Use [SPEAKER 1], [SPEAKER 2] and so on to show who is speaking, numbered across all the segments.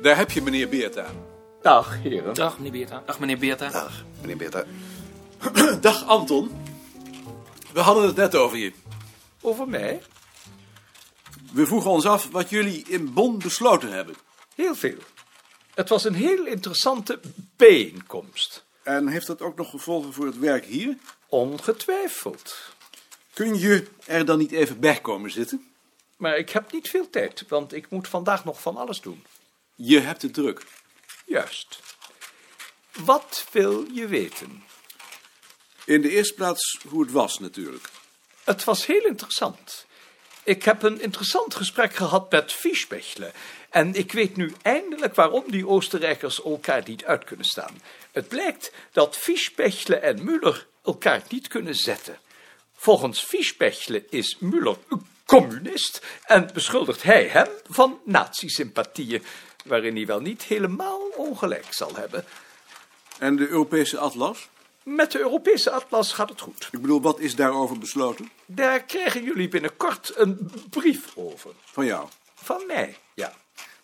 [SPEAKER 1] Daar heb je meneer Beerta.
[SPEAKER 2] Dag, heren.
[SPEAKER 3] Dag meneer Beerta. Dag meneer Beerta.
[SPEAKER 1] Dag, meneer Beerta. Dag, Anton. We hadden het net over je.
[SPEAKER 2] Over mij?
[SPEAKER 1] We vroegen ons af wat jullie in Bonn besloten hebben.
[SPEAKER 2] Heel veel. Het was een heel interessante bijeenkomst.
[SPEAKER 1] En heeft dat ook nog gevolgen voor het werk hier?
[SPEAKER 2] Ongetwijfeld.
[SPEAKER 1] Kun je er dan niet even bij komen zitten?
[SPEAKER 2] Maar ik heb niet veel tijd, want ik moet vandaag nog van alles doen.
[SPEAKER 1] Je hebt het druk.
[SPEAKER 2] Juist. Wat wil je weten?
[SPEAKER 1] In de eerste plaats hoe het was natuurlijk.
[SPEAKER 2] Het was heel interessant. Ik heb een interessant gesprek gehad met Fischbechle. En ik weet nu eindelijk waarom die Oostenrijkers elkaar niet uit kunnen staan. Het blijkt dat Fischbechle en Müller elkaar niet kunnen zetten. Volgens Fischbechle is Müller een communist en beschuldigt hij hem van nazi-sympathieën, waarin hij wel niet helemaal ongelijk zal hebben.
[SPEAKER 1] En de Europese atlas?
[SPEAKER 2] Met de Europese atlas gaat het goed.
[SPEAKER 1] Ik bedoel, wat is daarover besloten?
[SPEAKER 2] Daar krijgen jullie binnenkort een brief over.
[SPEAKER 1] Van jou.
[SPEAKER 2] Van mij, ja.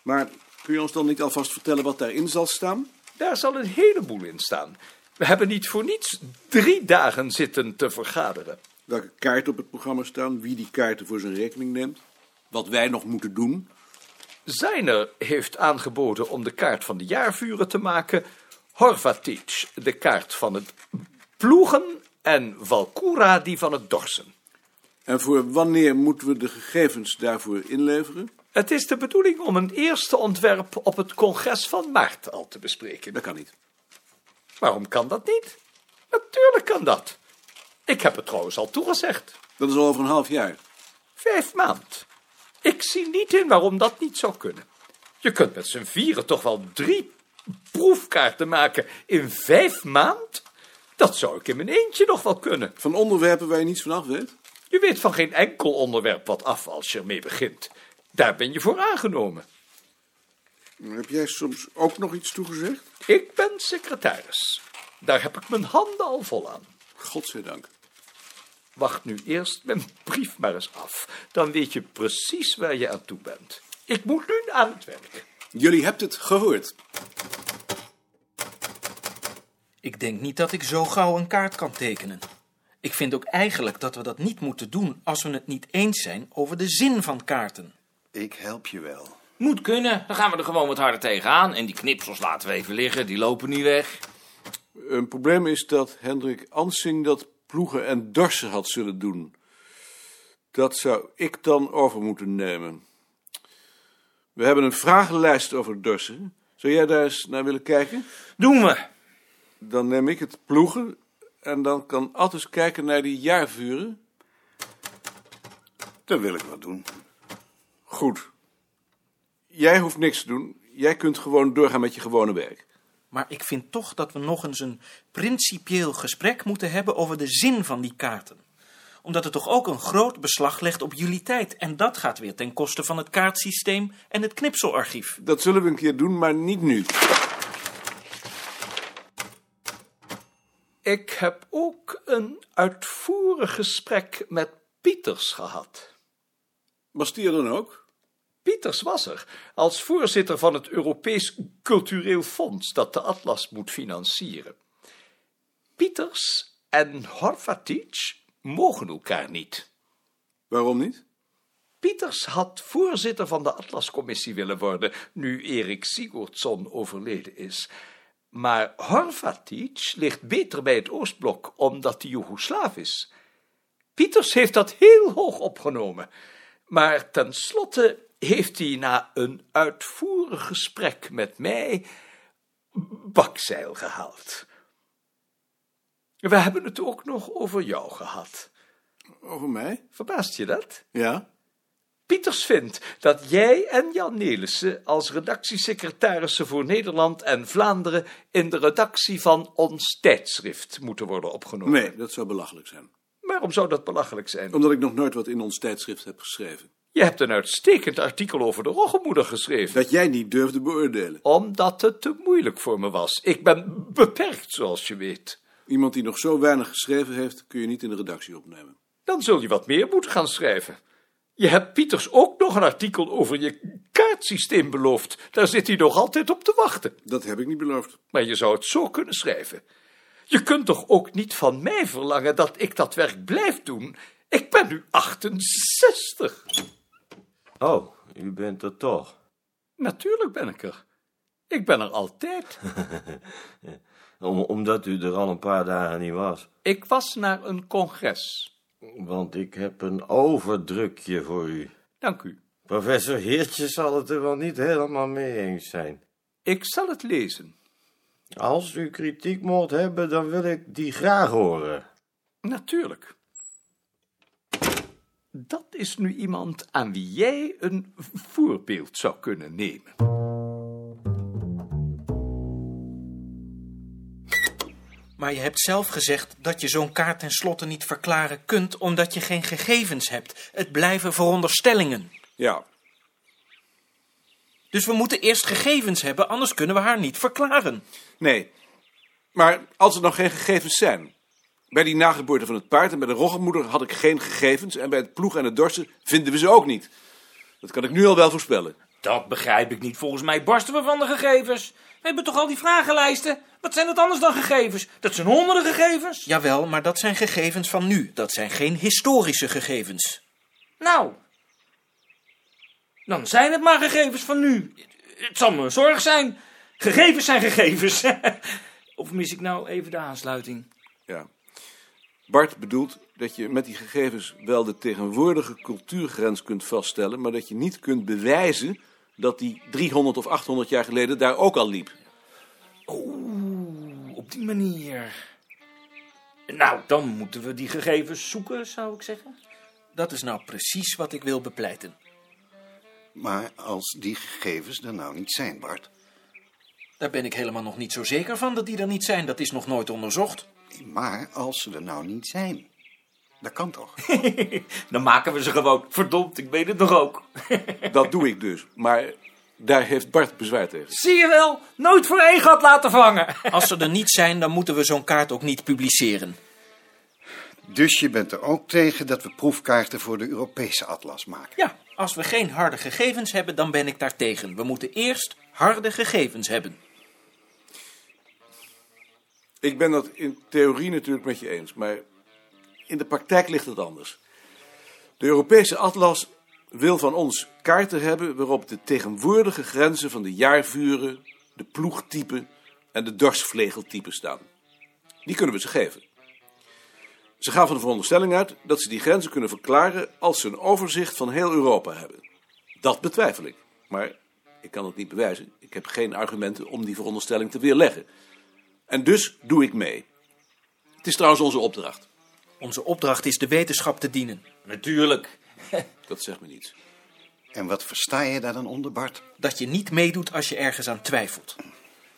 [SPEAKER 1] Maar kun je ons dan niet alvast vertellen wat daarin zal staan?
[SPEAKER 2] Daar zal een heleboel in staan. We hebben niet voor niets drie dagen zitten te vergaderen.
[SPEAKER 1] Welke kaarten op het programma staan, wie die kaarten voor zijn rekening neemt, wat wij nog moeten doen.
[SPEAKER 2] Zijner heeft aangeboden om de kaart van de jaarvuren te maken. Horvatic de kaart van het ploegen. En Valkura die van het dorsen.
[SPEAKER 1] En voor wanneer moeten we de gegevens daarvoor inleveren?
[SPEAKER 2] Het is de bedoeling om een eerste ontwerp op het congres van maart al te bespreken.
[SPEAKER 1] Dat kan niet.
[SPEAKER 2] Waarom kan dat niet? Natuurlijk kan dat. Ik heb het trouwens al toegezegd.
[SPEAKER 1] Dat is al over een half jaar.
[SPEAKER 2] Vijf maand. Ik zie niet in waarom dat niet zou kunnen. Je kunt met z'n vieren toch wel drie proefkaarten maken in vijf maand? Dat zou ik in mijn eentje nog wel kunnen.
[SPEAKER 1] Van onderwerpen waar je niets van af weet?
[SPEAKER 2] Je weet van geen enkel onderwerp wat af als je ermee begint. Daar ben je voor aangenomen.
[SPEAKER 1] Heb jij soms ook nog iets toegezegd?
[SPEAKER 2] Ik ben secretaris. Daar heb ik mijn handen al vol aan.
[SPEAKER 1] Godzijdank.
[SPEAKER 2] Wacht nu eerst mijn brief maar eens af. Dan weet je precies waar je aan toe bent. Ik moet nu aan het werk.
[SPEAKER 1] Jullie hebt het gehoord.
[SPEAKER 3] Ik denk niet dat ik zo gauw een kaart kan tekenen. Ik vind ook eigenlijk dat we dat niet moeten doen als we het niet eens zijn over de zin van kaarten.
[SPEAKER 4] Ik help je wel.
[SPEAKER 5] Moet kunnen. Dan gaan we er gewoon wat harder tegenaan. En die knipsels laten we even liggen. Die lopen niet weg.
[SPEAKER 1] Een probleem is dat Hendrik Ansing dat ploegen en dorsen had zullen doen. Dat zou ik dan over moeten nemen. We hebben een vragenlijst over dorsen. Zou jij daar eens naar willen kijken?
[SPEAKER 5] Doen we.
[SPEAKER 1] Dan neem ik het ploegen en dan kan Attus kijken naar die jaarvuren.
[SPEAKER 4] Dat wil ik wel doen.
[SPEAKER 1] Goed. Jij hoeft niks te doen. Jij kunt gewoon doorgaan met je gewone werk.
[SPEAKER 3] Maar ik vind toch dat we nog eens een principieel gesprek moeten hebben over de zin van die kaarten. Omdat het toch ook een groot beslag legt op jullie tijd. En dat gaat weer ten koste van het kaartsysteem en het knipselarchief.
[SPEAKER 1] Dat zullen we een keer doen, maar niet nu.
[SPEAKER 2] Ik heb ook een uitvoerig gesprek met Pieters gehad.
[SPEAKER 1] Was die er dan ook?
[SPEAKER 2] Pieters was er als voorzitter van het Europees Cultureel Fonds dat de Atlas moet financieren. Pieters en Horvatic mogen elkaar niet.
[SPEAKER 1] Waarom niet?
[SPEAKER 2] Pieters had voorzitter van de Atlascommissie willen worden, nu Erik Sigurdsson overleden is. Maar Horvatic ligt beter bij het Oostblok, omdat hij Joegoslaaf is. Pieters heeft dat heel hoog opgenomen. Maar tenslotte heeft hij na een uitvoerig gesprek met mij bakzeil gehaald. We hebben het ook nog over jou gehad.
[SPEAKER 1] Over mij?
[SPEAKER 2] Verbaast je dat?
[SPEAKER 1] Ja.
[SPEAKER 2] Pieters vindt dat jij en Jan Nelissen als redactiesecretarissen voor Nederland en Vlaanderen in de redactie van ons tijdschrift moeten worden opgenomen.
[SPEAKER 1] Nee, dat zou belachelijk zijn.
[SPEAKER 2] Waarom zou dat belachelijk zijn?
[SPEAKER 1] Omdat ik nog nooit wat in ons tijdschrift heb geschreven.
[SPEAKER 2] Je hebt een uitstekend artikel over de roggemoeder geschreven.
[SPEAKER 1] Dat jij niet durfde beoordelen.
[SPEAKER 2] Omdat het te moeilijk voor me was. Ik ben beperkt, zoals je weet.
[SPEAKER 1] Iemand die nog zo weinig geschreven heeft, kun je niet in de redactie opnemen.
[SPEAKER 2] Dan zul je wat meer moeten gaan schrijven. Je hebt Pieters ook nog een artikel over je kaartsysteem beloofd. Daar zit hij nog altijd op te wachten.
[SPEAKER 1] Dat heb ik niet beloofd.
[SPEAKER 2] Maar je zou het zo kunnen schrijven. Je kunt toch ook niet van mij verlangen dat ik dat werk blijf doen? Ik ben nu 68.
[SPEAKER 6] Oh, u bent er toch.
[SPEAKER 2] Natuurlijk ben ik er. Ik ben er altijd.
[SPEAKER 6] Om, omdat u er al een paar dagen niet was.
[SPEAKER 2] Ik was naar een congres.
[SPEAKER 6] Want ik heb een overdrukje voor u.
[SPEAKER 2] Dank u.
[SPEAKER 6] Professor Heertje zal het er wel niet helemaal mee eens zijn.
[SPEAKER 2] Ik zal het lezen.
[SPEAKER 6] Als u kritiek mocht hebben, dan wil ik die graag horen.
[SPEAKER 2] Natuurlijk. Dat is nu iemand aan wie jij een voorbeeld zou kunnen nemen.
[SPEAKER 3] Maar je hebt zelf gezegd dat je zo'n kaart tenslotte niet verklaren kunt omdat je geen gegevens hebt. Het blijven veronderstellingen.
[SPEAKER 1] Ja,
[SPEAKER 3] Dus we moeten eerst gegevens hebben, anders kunnen we haar niet verklaren.
[SPEAKER 1] nee. Maar als er nog geen gegevens zijn. Bij die nageboorte van het paard en bij de roggenmoeder had ik geen gegevens. En bij het ploeg en het dorsen vinden we ze ook niet. Dat kan ik nu al wel voorspellen.
[SPEAKER 5] Dat begrijp ik niet. Volgens mij barsten we van de gegevens. We hebben toch al die vragenlijsten? Wat zijn dat anders dan gegevens? Dat zijn honderden gegevens.
[SPEAKER 3] Jawel, maar dat zijn gegevens van nu. Dat zijn geen historische gegevens.
[SPEAKER 5] Nou, dan zijn het maar gegevens van nu. Het zal me een zorg zijn. Gegevens zijn gegevens. of mis ik nou even de aansluiting?
[SPEAKER 1] Ja. Bart bedoelt dat je met die gegevens wel de tegenwoordige cultuurgrens kunt vaststellen, maar dat je niet kunt bewijzen dat die 300 of 800 jaar geleden daar ook al liep.
[SPEAKER 5] Oeh, op die manier. Nou, dan moeten we die gegevens zoeken, zou ik zeggen.
[SPEAKER 3] Dat is nou precies wat ik wil bepleiten.
[SPEAKER 4] Maar als die gegevens er nou niet zijn, Bart.
[SPEAKER 3] Daar ben ik helemaal nog niet zo zeker van dat die er niet zijn. Dat is nog nooit onderzocht.
[SPEAKER 4] Maar als ze er nou niet zijn. Dat kan toch?
[SPEAKER 5] Dan maken we ze gewoon. Verdomd, ik weet het nog ook.
[SPEAKER 1] Dat doe ik dus, maar daar heeft Bart bezwaar tegen.
[SPEAKER 5] Zie je wel, nooit voor één gat laten vangen.
[SPEAKER 3] Als ze er niet zijn, dan moeten we zo'n kaart ook niet publiceren.
[SPEAKER 4] Dus je bent er ook tegen dat we proefkaarten voor de Europese atlas maken.
[SPEAKER 3] Ja, als we geen harde gegevens hebben, dan ben ik daar tegen. We moeten eerst harde gegevens hebben.
[SPEAKER 1] Ik ben dat in theorie natuurlijk met je eens, maar in de praktijk ligt het anders. De Europese atlas wil van ons kaarten hebben waarop de tegenwoordige grenzen van de jaarvuren, de ploegtypen en de dorsvlegeltypen staan. Die kunnen we ze geven. Ze gaan van de veronderstelling uit dat ze die grenzen kunnen verklaren als ze een overzicht van heel Europa hebben. Dat betwijfel ik, maar ik kan het niet bewijzen. Ik heb geen argumenten om die veronderstelling te weerleggen. En dus doe ik mee. Het is trouwens onze opdracht.
[SPEAKER 3] Onze opdracht is de wetenschap te dienen.
[SPEAKER 5] Natuurlijk.
[SPEAKER 1] Dat zegt me niets.
[SPEAKER 4] En wat versta je daar dan onder, Bart?
[SPEAKER 3] Dat je niet meedoet als je ergens aan twijfelt.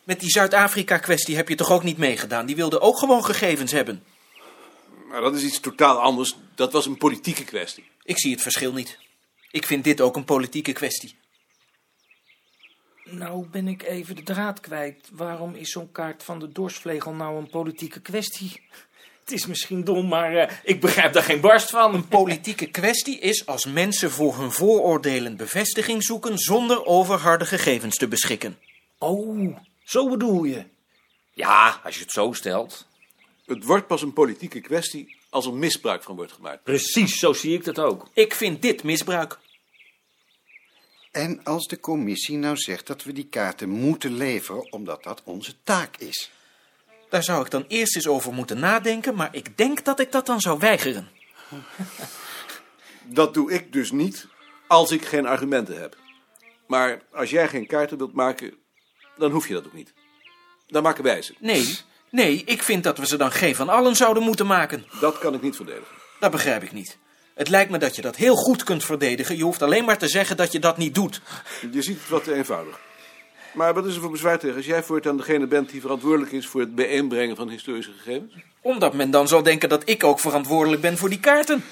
[SPEAKER 3] Met die Zuid-Afrika-kwestie heb je toch ook niet meegedaan? Die wilden ook gewoon gegevens hebben.
[SPEAKER 1] Maar dat is iets totaal anders. Dat was een politieke kwestie.
[SPEAKER 3] Ik zie het verschil niet. Ik vind dit ook een politieke kwestie.
[SPEAKER 5] Nou ben ik even de draad kwijt. Waarom is zo'n kaart van de dorsvlegel nou een politieke kwestie? Het is misschien dom, maar eh, ik begrijp daar geen barst van.
[SPEAKER 3] Politieke kwestie is als mensen voor hun vooroordelen bevestiging zoeken zonder over harde gegevens te beschikken.
[SPEAKER 5] Oh, zo bedoel je? Ja, als je het zo stelt.
[SPEAKER 1] Het wordt pas een politieke kwestie als er misbruik van wordt gemaakt.
[SPEAKER 5] Precies, zo zie ik dat ook.
[SPEAKER 3] Ik vind dit misbruik.
[SPEAKER 4] En als de commissie nou zegt dat we die kaarten moeten leveren omdat dat onze taak is.
[SPEAKER 3] Daar zou ik dan eerst eens over moeten nadenken, maar ik denk dat ik dat dan zou weigeren.
[SPEAKER 1] Dat doe ik dus niet als ik geen argumenten heb. Maar als jij geen kaarten wilt maken, dan hoef je dat ook niet. Dan maken wij ze.
[SPEAKER 3] Nee, nee, ik vind dat we ze dan geen van allen zouden moeten maken.
[SPEAKER 1] Dat kan ik niet verdedigen.
[SPEAKER 3] Dat begrijp ik niet. Het lijkt me dat je dat heel goed kunt verdedigen. Je hoeft alleen maar te zeggen dat je dat niet doet.
[SPEAKER 1] Je ziet het wat te eenvoudig. Maar wat is er voor bezwaar tegen als jij voortaan degene bent die verantwoordelijk is voor het bijeenbrengen van historische gegevens?
[SPEAKER 3] Omdat men dan zal denken dat ik ook verantwoordelijk ben voor die kaarten.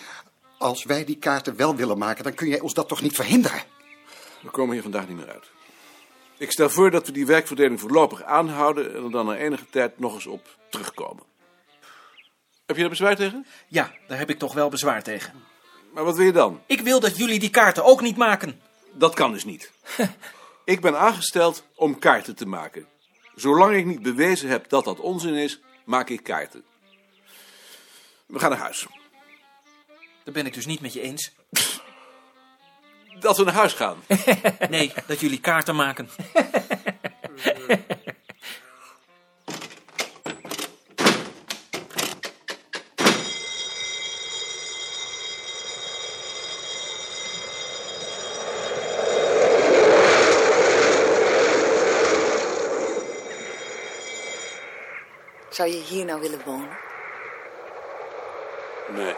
[SPEAKER 4] Als wij die kaarten wel willen maken, dan kun jij ons dat toch niet verhinderen?
[SPEAKER 1] We komen hier vandaag niet meer uit. Ik stel voor dat we die werkverdeling voorlopig aanhouden en er dan na enige tijd nog eens op terugkomen. Heb je daar bezwaar tegen?
[SPEAKER 3] Ja, daar heb ik toch wel bezwaar tegen.
[SPEAKER 1] Maar wat wil je dan?
[SPEAKER 3] Ik wil dat jullie die kaarten ook niet maken.
[SPEAKER 1] Dat kan dus niet. Ik ben aangesteld om kaarten te maken. Zolang ik niet bewezen heb dat dat onzin is, maak ik kaarten. We gaan naar huis.
[SPEAKER 3] Daar ben ik dus niet met je eens.
[SPEAKER 1] Dat we naar huis gaan.
[SPEAKER 3] Nee, dat jullie kaarten maken.
[SPEAKER 7] Zou je hier nou willen wonen?
[SPEAKER 1] Nee,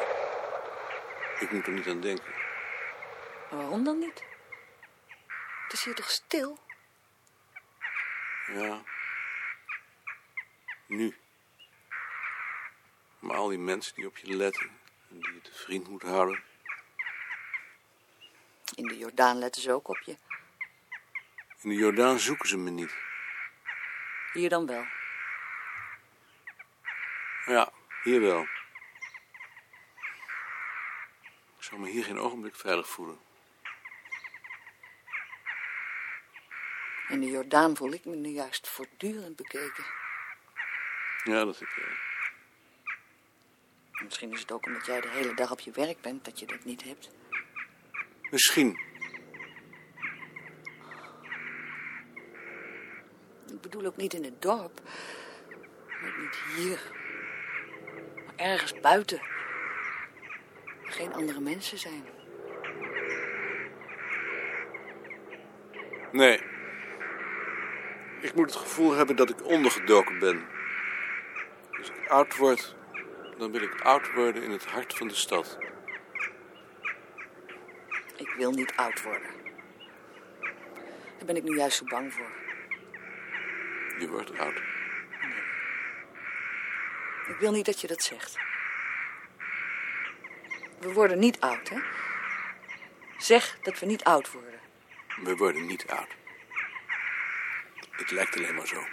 [SPEAKER 1] ik moet er niet aan denken.
[SPEAKER 7] Maar waarom dan niet? Het is hier toch stil?
[SPEAKER 1] Ja. Nu. Maar al die mensen die op je letten en die je te vriend moet houden.
[SPEAKER 7] In de Jordaan letten ze ook op je.
[SPEAKER 1] In de Jordaan zoeken ze me niet.
[SPEAKER 7] Hier dan wel.
[SPEAKER 1] Ja, hier wel. Ik zou me hier geen ogenblik veilig voelen.
[SPEAKER 7] In de Jordaan voel ik me nu juist voortdurend bekeken.
[SPEAKER 1] Ja, dat ik. eh,
[SPEAKER 7] Misschien is het ook omdat jij de hele dag op je werk bent dat je dat niet hebt.
[SPEAKER 1] Misschien.
[SPEAKER 7] Ik bedoel ook niet in het dorp. Ook niet hier. Maar ergens buiten. Waar Geen andere mensen zijn.
[SPEAKER 1] Nee. Ik moet het gevoel hebben dat ik ondergedoken ben. Als ik oud word, dan wil ik oud worden in het hart van de stad.
[SPEAKER 7] Ik wil niet oud worden. Daar ben ik nu juist zo bang voor.
[SPEAKER 1] Je wordt oud.
[SPEAKER 7] Ik wil niet dat je dat zegt. We worden niet oud, hè? Zeg dat we niet oud worden.
[SPEAKER 1] We worden niet oud. Het lijkt alleen maar zo.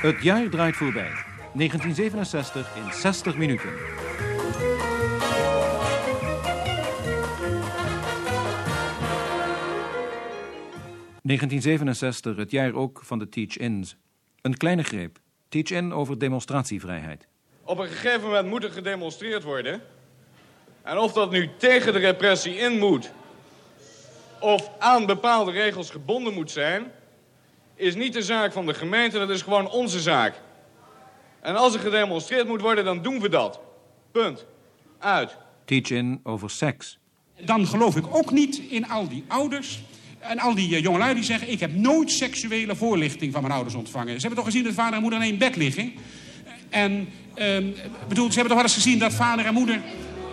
[SPEAKER 8] Het jaar draait voorbij. 1967 in 60 minuten. ...1967, het jaar ook van de teach-ins. Een kleine greep. Teach-in over demonstratievrijheid.
[SPEAKER 9] Op een gegeven moment moet er gedemonstreerd worden. En of dat nu tegen de repressie in moet... of aan bepaalde regels gebonden moet zijn... is niet de zaak van de gemeente, dat is gewoon onze zaak. En als er gedemonstreerd moet worden, dan doen we dat. Punt. Uit.
[SPEAKER 8] Teach-in over seks.
[SPEAKER 5] dan geloof ik ook niet in al die ouders en al die eh, jongelui die zeggen... ik heb nooit seksuele voorlichting van mijn ouders ontvangen. Ze hebben toch gezien dat vader en moeder alleen in bed liggen? En, ehm, ik bedoel, ze hebben toch wel eens gezien dat vader en moeder...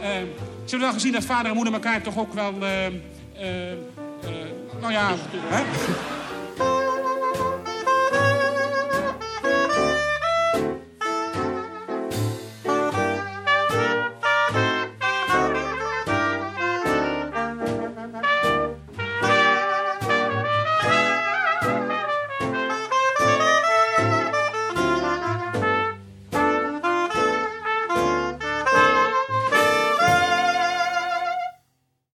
[SPEAKER 5] ehm, ze hebben wel eh, gezien dat vader en moeder elkaar toch ook wel... ehm, ehm, eh, nou ja, hè?